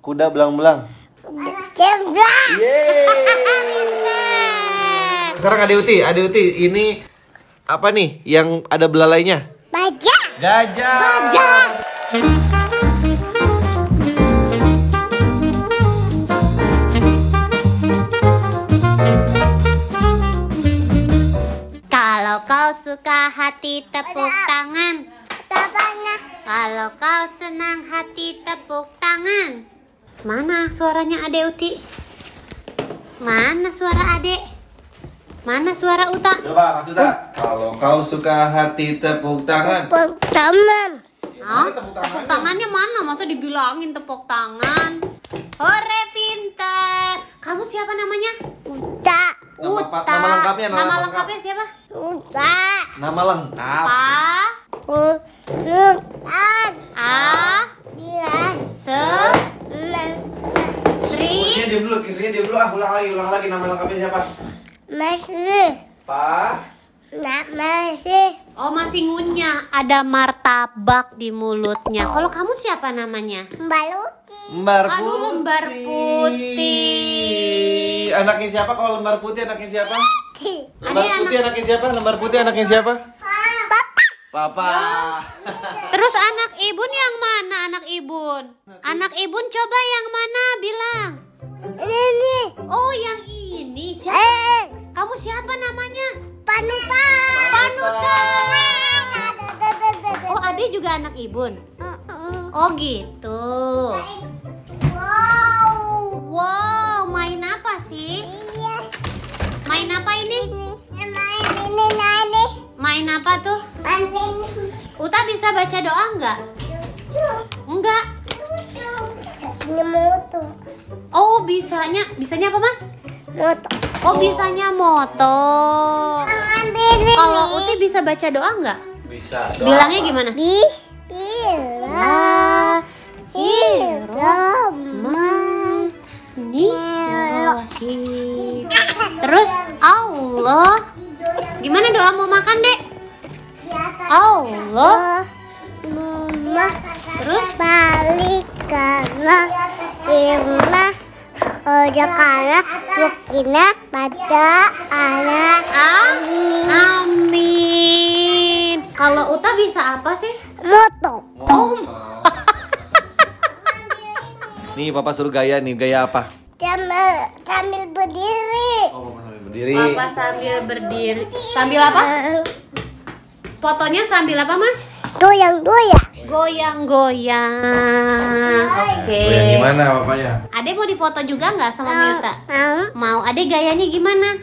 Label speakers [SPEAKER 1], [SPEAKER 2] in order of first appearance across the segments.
[SPEAKER 1] Kuda belang-belang.
[SPEAKER 2] Zebra.
[SPEAKER 3] Sekarang Ade Uti, Ade Uti ini apa nih yang ada belalainya?
[SPEAKER 2] Baja.
[SPEAKER 3] Gajah.
[SPEAKER 4] Kalau kau suka hati tepuk tangan.
[SPEAKER 2] Tabana.
[SPEAKER 4] Kalau kau senang hati tepuk tangan. Mana suaranya Ade Uti? Mana suara Ade? Mana suara Uta?
[SPEAKER 3] Coba maksudnya kalau kau suka hati tepuk tangan.
[SPEAKER 2] Pertama.
[SPEAKER 4] Hah?
[SPEAKER 1] kan?
[SPEAKER 4] Tepuk tangannya mana? Masa dibilangin tepuk tangan? Hore pinter. Kamu siapa namanya?
[SPEAKER 2] Uta.
[SPEAKER 3] Nama pa- nama lengkapnya, nama
[SPEAKER 4] Nama
[SPEAKER 3] lengkap.
[SPEAKER 4] lengkapnya siapa?
[SPEAKER 2] Uta.
[SPEAKER 3] Nama lengkap.
[SPEAKER 4] Pa
[SPEAKER 2] Uta.
[SPEAKER 4] A
[SPEAKER 2] Bila.
[SPEAKER 4] Se Tri
[SPEAKER 1] Kusinya diam dulu, kusinya diam dulu. Ah, ulang lagi, ulang lagi nama lengkapnya siapa?
[SPEAKER 2] Masih.
[SPEAKER 1] Pa.
[SPEAKER 2] Nak masih.
[SPEAKER 4] Oh masih ngunyah, ada martabak di mulutnya. Kalau kamu siapa namanya?
[SPEAKER 2] Baluti.
[SPEAKER 3] Lembar
[SPEAKER 4] Aduh,
[SPEAKER 3] putih.
[SPEAKER 4] Anu, lembar putih.
[SPEAKER 3] Anaknya siapa? Kalau lembar putih anaknya siapa? Lembar
[SPEAKER 4] Ada
[SPEAKER 3] putih anaknya siapa? Lembar putih anaknya siapa?
[SPEAKER 2] à, Papa.
[SPEAKER 3] Papa.
[SPEAKER 4] Terus anak ibun yang mana anak ibun? Anak ibun coba yang mana bilang?
[SPEAKER 2] Ini.
[SPEAKER 4] Oh yang ini siapa?
[SPEAKER 2] Eh.
[SPEAKER 4] Kamu siapa namanya?
[SPEAKER 2] Panutan.
[SPEAKER 4] Panutan. Oh ade juga anak ibun. Oh gitu.
[SPEAKER 2] Wow.
[SPEAKER 4] Wow main apa sih?
[SPEAKER 2] Iya.
[SPEAKER 4] Main apa ini?
[SPEAKER 2] Main ini nani.
[SPEAKER 4] Main apa tuh?
[SPEAKER 2] Mancing.
[SPEAKER 4] Uta bisa baca doa nggak? Enggak.
[SPEAKER 2] Ini moto.
[SPEAKER 4] Oh bisanya bisanya apa mas?
[SPEAKER 2] Moto.
[SPEAKER 4] Oh, bisanya moto.
[SPEAKER 2] Ambil ini.
[SPEAKER 4] Kalau Uti bisa baca doa nggak?
[SPEAKER 3] Bisa. doa
[SPEAKER 4] Bilangnya
[SPEAKER 3] apa?
[SPEAKER 4] gimana?
[SPEAKER 2] bis. Bila.
[SPEAKER 4] Bismillahirrahmanirrahim. Terus Allah. Gimana doa mau makan dek? Allah.
[SPEAKER 2] Mama
[SPEAKER 4] Terus?
[SPEAKER 2] balik karena Irma udah kalah Bukina pada anak
[SPEAKER 4] Ah, amin. Kalau Uta bisa apa sih?
[SPEAKER 2] moto
[SPEAKER 3] Oh. nih papa suruh gaya nih, gaya apa?
[SPEAKER 2] sambil sambil berdiri
[SPEAKER 3] Oh, mama sambil berdiri.
[SPEAKER 4] Papa sambil berdiri. Sambil apa? Fotonya sambil apa mas?
[SPEAKER 2] goyang goyang
[SPEAKER 4] Goyang-goyang. Oke.
[SPEAKER 3] Goyang gimana papanya?
[SPEAKER 4] Ade mau difoto juga nggak sama Milta?
[SPEAKER 2] Eh, mau
[SPEAKER 4] Mau. Ade gayanya gimana?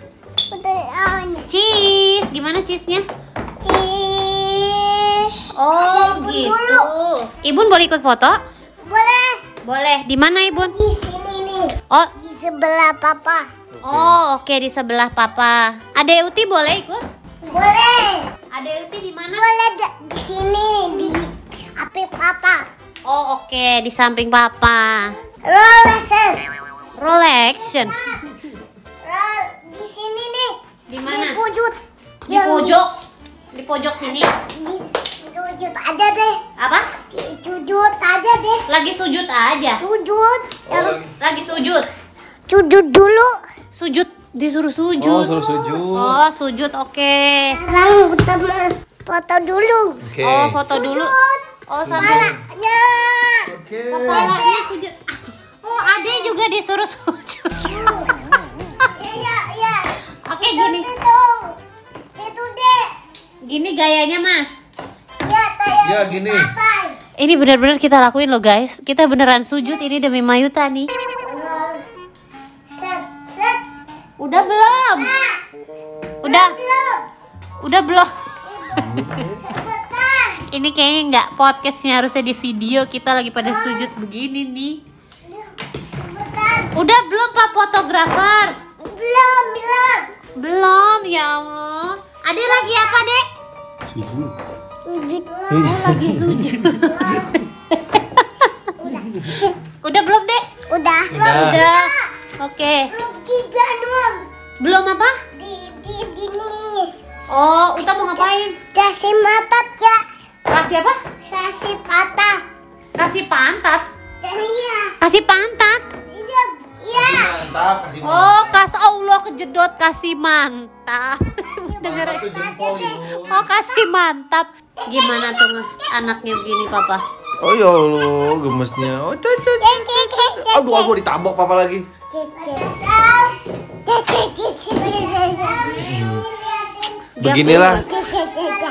[SPEAKER 2] udah oh, on
[SPEAKER 4] Cheese. Gimana cheese-nya?
[SPEAKER 2] cis
[SPEAKER 4] Oh,
[SPEAKER 2] Ada Ibun
[SPEAKER 4] gitu.
[SPEAKER 2] dulu.
[SPEAKER 4] Ibun boleh ikut foto?
[SPEAKER 2] boleh
[SPEAKER 4] Boleh. Di mana Ibun?
[SPEAKER 2] di sini nih
[SPEAKER 4] Oh,
[SPEAKER 2] di sebelah papa
[SPEAKER 4] oh, oke di sebelah Papa. Ade Uti boleh ikut?
[SPEAKER 2] boleh
[SPEAKER 4] Ade Uti di mana?
[SPEAKER 2] boleh di- di sini di api papa
[SPEAKER 4] Oh, oke di samping Papa.
[SPEAKER 2] Rolesen.
[SPEAKER 4] Relaxation.
[SPEAKER 2] Rol di sini nih.
[SPEAKER 4] Di mana?
[SPEAKER 2] Di pujut.
[SPEAKER 4] Di pojok. Di pojok sini.
[SPEAKER 2] Di pujut aja deh.
[SPEAKER 4] Apa?
[SPEAKER 2] Di pujut aja deh.
[SPEAKER 4] Lagi sujud aja.
[SPEAKER 2] Pujut. Terus
[SPEAKER 4] Lagi sujud.
[SPEAKER 2] sujud dulu.
[SPEAKER 4] Sujud disuruh sujud.
[SPEAKER 3] Oh, suruh sujud.
[SPEAKER 4] Oh, sujud oke.
[SPEAKER 2] Sekarang ketemu foto dulu.
[SPEAKER 3] Oke.
[SPEAKER 4] Oh, foto dulu.
[SPEAKER 2] Sujud.
[SPEAKER 4] Oh, sambil
[SPEAKER 2] Malanya.
[SPEAKER 3] Oke.
[SPEAKER 4] kepalanya sujud. Oh, Ade juga disuruh sujud.
[SPEAKER 2] Iya, iya.
[SPEAKER 4] Oke, gini.
[SPEAKER 2] Itu. Itu deh.
[SPEAKER 4] Gini gayanya, Mas.
[SPEAKER 2] Ya, tayang
[SPEAKER 3] Ya,
[SPEAKER 2] di
[SPEAKER 3] gini.
[SPEAKER 2] papan.
[SPEAKER 4] Ini benar-benar kita lakuin loh, guys. Kita beneran sujud ini demi Mayuta nih.
[SPEAKER 2] Rol. Set, set.
[SPEAKER 4] Udah belum?
[SPEAKER 2] Ah,
[SPEAKER 4] Udah,
[SPEAKER 2] belum.
[SPEAKER 4] udah belum?
[SPEAKER 2] Cepetan.
[SPEAKER 4] Ini kayaknya nggak podcastnya harusnya di video kita lagi pada sujud begini nih.
[SPEAKER 2] Cepetan.
[SPEAKER 4] Udah belum Pak fotografer?
[SPEAKER 2] Belum, belum.
[SPEAKER 4] Belum ya Allah. Ada lagi apa dek?
[SPEAKER 1] Sujud.
[SPEAKER 4] Oh, lagi sujud. Udah belum dek?
[SPEAKER 2] Udah.
[SPEAKER 3] Udah.
[SPEAKER 4] Udah. Oke.
[SPEAKER 2] Belum tiba belum.
[SPEAKER 4] Belum apa?
[SPEAKER 2] Di di di ini.
[SPEAKER 4] Oh, Uta mau ngapain?
[SPEAKER 2] Kasih mata ya.
[SPEAKER 4] Kasih apa?
[SPEAKER 2] Kasih patah.
[SPEAKER 4] Kasih pantat.
[SPEAKER 2] Ya, Iya.
[SPEAKER 4] Kasih pantat.
[SPEAKER 2] Iya. Iya.
[SPEAKER 1] Mantap, kasih
[SPEAKER 4] Oh, kas Allah kejedot kasih mantap. Dengar. ya.
[SPEAKER 1] Mantap tuh jempol ibu.
[SPEAKER 4] Oh, kasih mantap. Gimana tuh nge- anaknya begini, Papa?
[SPEAKER 3] Oh ya Allah, gemesnya. Oh, caca. Aduh, aku ditabok papa lagi.
[SPEAKER 4] Dia
[SPEAKER 3] Beginilah
[SPEAKER 4] punya.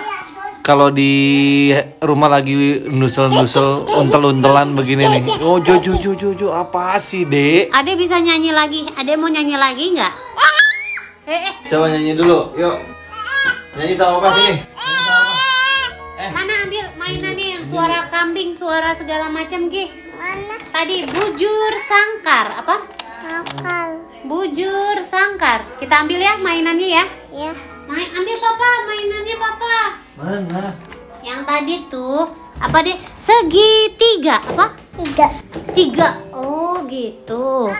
[SPEAKER 3] kalau di rumah lagi nusel-nusel, untel-untelan begini nih. Oh, jo jo jo jo jo apa sih, Dek?
[SPEAKER 4] Ade bisa nyanyi lagi. Ade mau nyanyi lagi nggak? Eh, eh,
[SPEAKER 3] Coba nyanyi dulu, yuk. Nyanyi sama papa sini.
[SPEAKER 4] mana ambil mainannya yang suara kambing, suara segala macam Ki?
[SPEAKER 2] Mana
[SPEAKER 4] Tadi bujur sangkar, apa?
[SPEAKER 2] akal?
[SPEAKER 4] Bujur sangkar. Kita ambil ya mainannya ya.
[SPEAKER 2] Ya.
[SPEAKER 4] Main, ambil papa, mainannya papa.
[SPEAKER 1] Mana?
[SPEAKER 4] Yang tadi tuh apa deh? Segitiga, apa?
[SPEAKER 2] Tidak.
[SPEAKER 4] Tiga. Oh gitu.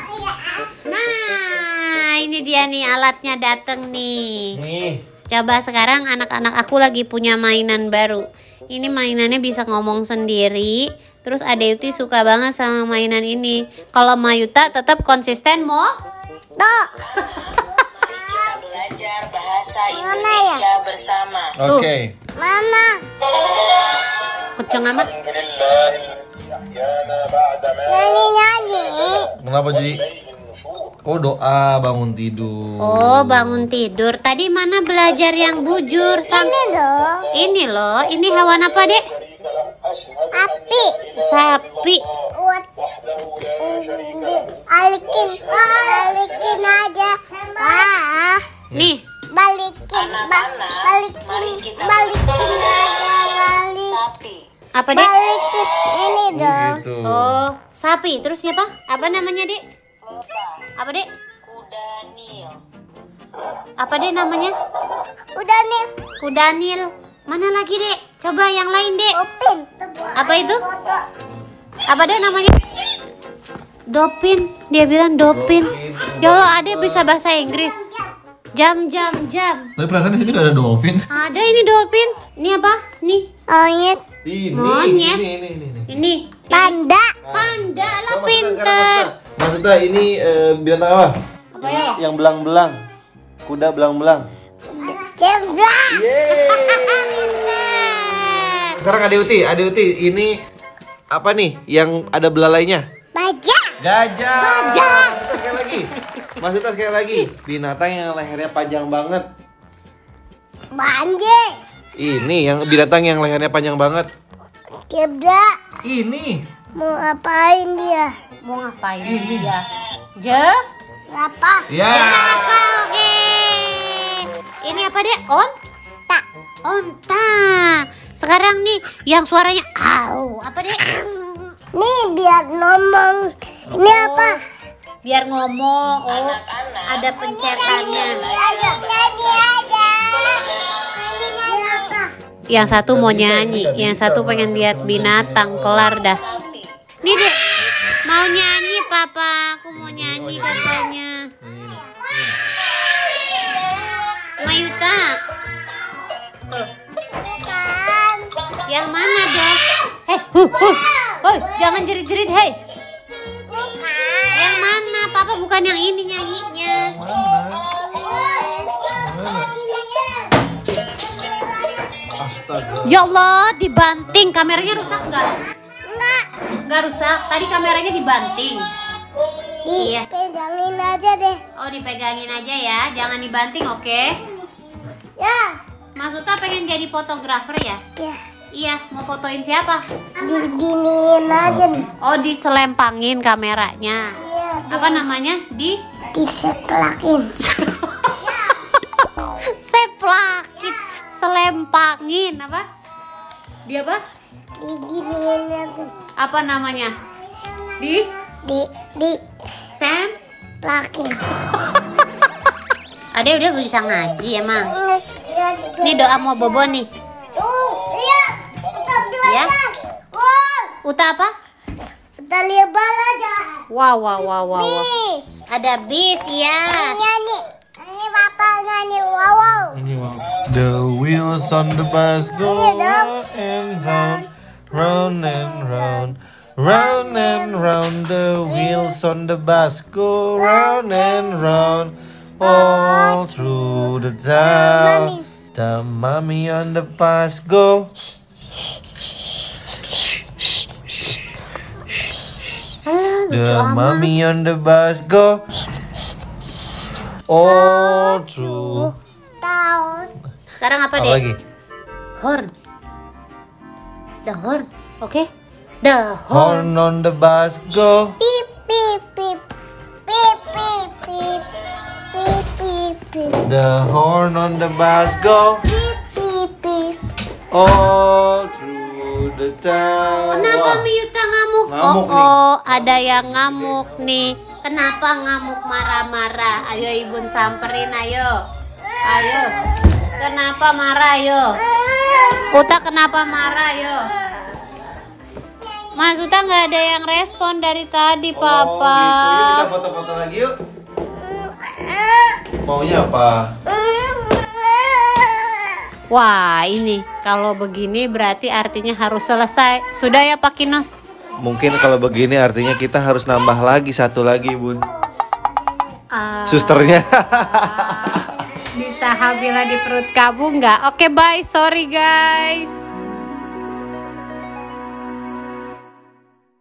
[SPEAKER 4] Nah, ini dia nih alatnya dateng nih.
[SPEAKER 1] Nih.
[SPEAKER 4] Coba sekarang anak-anak aku lagi punya mainan baru. Ini mainannya bisa ngomong sendiri. Terus Adeuti suka banget sama mainan ini. Kalau Mayuta tetap konsisten mo.
[SPEAKER 2] Tuh.
[SPEAKER 5] belajar bahasa
[SPEAKER 2] Mana
[SPEAKER 5] Indonesia bersama.
[SPEAKER 4] Tuh.
[SPEAKER 2] Mana?
[SPEAKER 4] Kenceng amat.
[SPEAKER 2] Nyanyi nyanyi.
[SPEAKER 3] Kenapa jadi Oh, doa bangun tidur.
[SPEAKER 4] Oh bangun tidur. Tadi mana belajar yang bujur? Sam
[SPEAKER 2] Ini dong.
[SPEAKER 4] ini loh. Ini hewan apa dek?
[SPEAKER 2] Api.
[SPEAKER 4] Sapi.
[SPEAKER 2] Buat. Alikin. Alikin aja. Wah.
[SPEAKER 4] Nih.
[SPEAKER 2] Balikin. Ba-
[SPEAKER 5] Anak-anak,
[SPEAKER 2] balikin.
[SPEAKER 5] mari kita
[SPEAKER 2] Balikin aja. Balik.
[SPEAKER 5] Tapi
[SPEAKER 4] Apa dek?
[SPEAKER 2] Balikin. Ini dong.
[SPEAKER 3] Gitu.
[SPEAKER 4] Oh sapi. Terus siapa? Apa namanya dek? Apa dek?
[SPEAKER 5] kuda Nil
[SPEAKER 4] Apa dek namanya?
[SPEAKER 2] Udah nih.
[SPEAKER 4] Kudanil. Mana lagi dek? Coba yang lain dek.
[SPEAKER 2] Open.
[SPEAKER 4] Apa itu? Apa deh namanya? Dopin, dia bilang dopin. Ya Allah, Ade bisa bahasa Inggris. Jam jam jam.
[SPEAKER 3] Tapi perasaan di sini gak ada dolphin.
[SPEAKER 4] Ada ini dopin. Ini apa? Nih.
[SPEAKER 2] Monyet.
[SPEAKER 3] Ini,
[SPEAKER 4] Monyet.
[SPEAKER 3] ini, ini, ini.
[SPEAKER 4] Ini.
[SPEAKER 2] Panda.
[SPEAKER 4] Panda lah
[SPEAKER 3] Coba maksudnya
[SPEAKER 4] pinter.
[SPEAKER 3] sekarang, Maksudnya, maksudnya ini eh, binatang apa?
[SPEAKER 4] Apa ya?
[SPEAKER 3] Yang belang-belang. Kuda belang-belang.
[SPEAKER 2] Zebra.
[SPEAKER 3] Sekarang ada Uti, ada Uti. Ini apa nih yang ada belalainya?
[SPEAKER 2] Bajak.
[SPEAKER 3] Gajah. Gajah. Sekali lagi. Maksudnya sekali lagi, binatang yang lehernya panjang banget.
[SPEAKER 2] Bandit.
[SPEAKER 3] Ini yang binatang yang lehernya panjang banget.
[SPEAKER 2] Zebra.
[SPEAKER 3] Ini.
[SPEAKER 2] Mau ngapain dia?
[SPEAKER 4] Mau ngapain dia? Je?
[SPEAKER 2] Apa?
[SPEAKER 3] Ya.
[SPEAKER 4] Apa oke? Ini apa deh? On?
[SPEAKER 2] Tak.
[SPEAKER 4] Onta. Sekarang nih yang suaranya au. Apa deh?
[SPEAKER 2] Nih biar ngomong. Ini apa?
[SPEAKER 4] Biar ngomong. Oh, ada pencetannya.
[SPEAKER 2] Aja. Nyanyi aja. Nyanyi nyanyi. apa?
[SPEAKER 4] Yang satu mau nyanyi, yang satu pengen lihat binatang, kelar dah. Nih deh, mau nyanyi papa, aku mau nyanyi katanya. Mayuta,
[SPEAKER 2] Kan.
[SPEAKER 4] yang mana dong? Hei, huh, huh. Hoi, jangan jerit-jerit, hei.
[SPEAKER 2] Bukan.
[SPEAKER 4] Yang mana? Papa bukan yang ini nyanyinya.
[SPEAKER 3] Astaga.
[SPEAKER 4] Ya Allah, dibanting. Kameranya rusak nggak? Nggak rusak. Tadi kameranya dibanting. Iya.
[SPEAKER 2] Pegangin aja deh.
[SPEAKER 4] Oh, dipegangin aja ya. Jangan dibanting, oke?
[SPEAKER 2] Ya.
[SPEAKER 4] Mas Uta pengen jadi fotografer ya?
[SPEAKER 2] Ya.
[SPEAKER 4] Iya, mau fotoin siapa?
[SPEAKER 2] Diginiin aja. deh.
[SPEAKER 4] Oh, diselempangin kameranya.
[SPEAKER 2] Iya.
[SPEAKER 4] Apa namanya? Di
[SPEAKER 2] Diseplakin.
[SPEAKER 4] seplakin, selempangin apa? Dia apa?
[SPEAKER 2] Diginiin aja.
[SPEAKER 4] Apa namanya? Di
[SPEAKER 2] Di di
[SPEAKER 4] sem
[SPEAKER 2] plakin.
[SPEAKER 4] Ada udah bisa ngaji emang. Ini
[SPEAKER 2] Ini
[SPEAKER 4] doa mau bobo nih.
[SPEAKER 2] Tuh, lihat. Kita
[SPEAKER 4] Ya.
[SPEAKER 2] belajar. Wow.
[SPEAKER 4] Uta apa?
[SPEAKER 2] Kita Oh, lihat aja.
[SPEAKER 4] Wow, wow, wow, wow. wow.
[SPEAKER 2] Bis.
[SPEAKER 4] Ada bis ya.
[SPEAKER 2] Nyanyi. Ini papa nyanyi wow wow.
[SPEAKER 3] The wheels on the bus go
[SPEAKER 2] Ini dong.
[SPEAKER 3] round and round, round and round. Round and round the wheels on the bus go round and round all through the town. The mommy on the bus go.
[SPEAKER 4] Alah, lucu
[SPEAKER 3] The
[SPEAKER 4] amat.
[SPEAKER 3] mommy on the bus go. All through.
[SPEAKER 2] Tahu.
[SPEAKER 4] Sekarang apa,
[SPEAKER 3] Apa
[SPEAKER 4] Dek?
[SPEAKER 3] lagi?
[SPEAKER 4] Horn. The horn. Oke. The horn.
[SPEAKER 3] Horn on the bus go.
[SPEAKER 2] Pip pip pip. Pip pip pip. Pip pip pip.
[SPEAKER 3] The horn on the bus go.
[SPEAKER 2] Pip pip pip.
[SPEAKER 3] All through the town.
[SPEAKER 4] Kenapa
[SPEAKER 3] Wah.
[SPEAKER 4] Miyuta ngamuk?
[SPEAKER 3] Ngamuk
[SPEAKER 4] oh,
[SPEAKER 3] nih.
[SPEAKER 4] oh, ada yang ngamuk nih. Kenapa ngamuk marah-marah? Ayo Ibun samperin, ayo. Ayo. Kenapa marah, ayo? Uta kenapa marah, ayo? Mas Uta nggak ada yang respon dari tadi,
[SPEAKER 3] gitu.
[SPEAKER 1] Oh
[SPEAKER 4] Papa.
[SPEAKER 1] gitu, yuk kita foto-foto lagi yuk.
[SPEAKER 3] Maunya apa?
[SPEAKER 4] Wah, ini kalau begini berarti artinya harus selesai. Sudah ya Pak Kinos?
[SPEAKER 3] Mungkin kalau begini artinya kita harus nambah lagi satu lagi, Bun.
[SPEAKER 4] Ah,
[SPEAKER 3] Susternya.
[SPEAKER 4] bisa hamil di perut kamu nggak? Oke, bye. Sorry guys.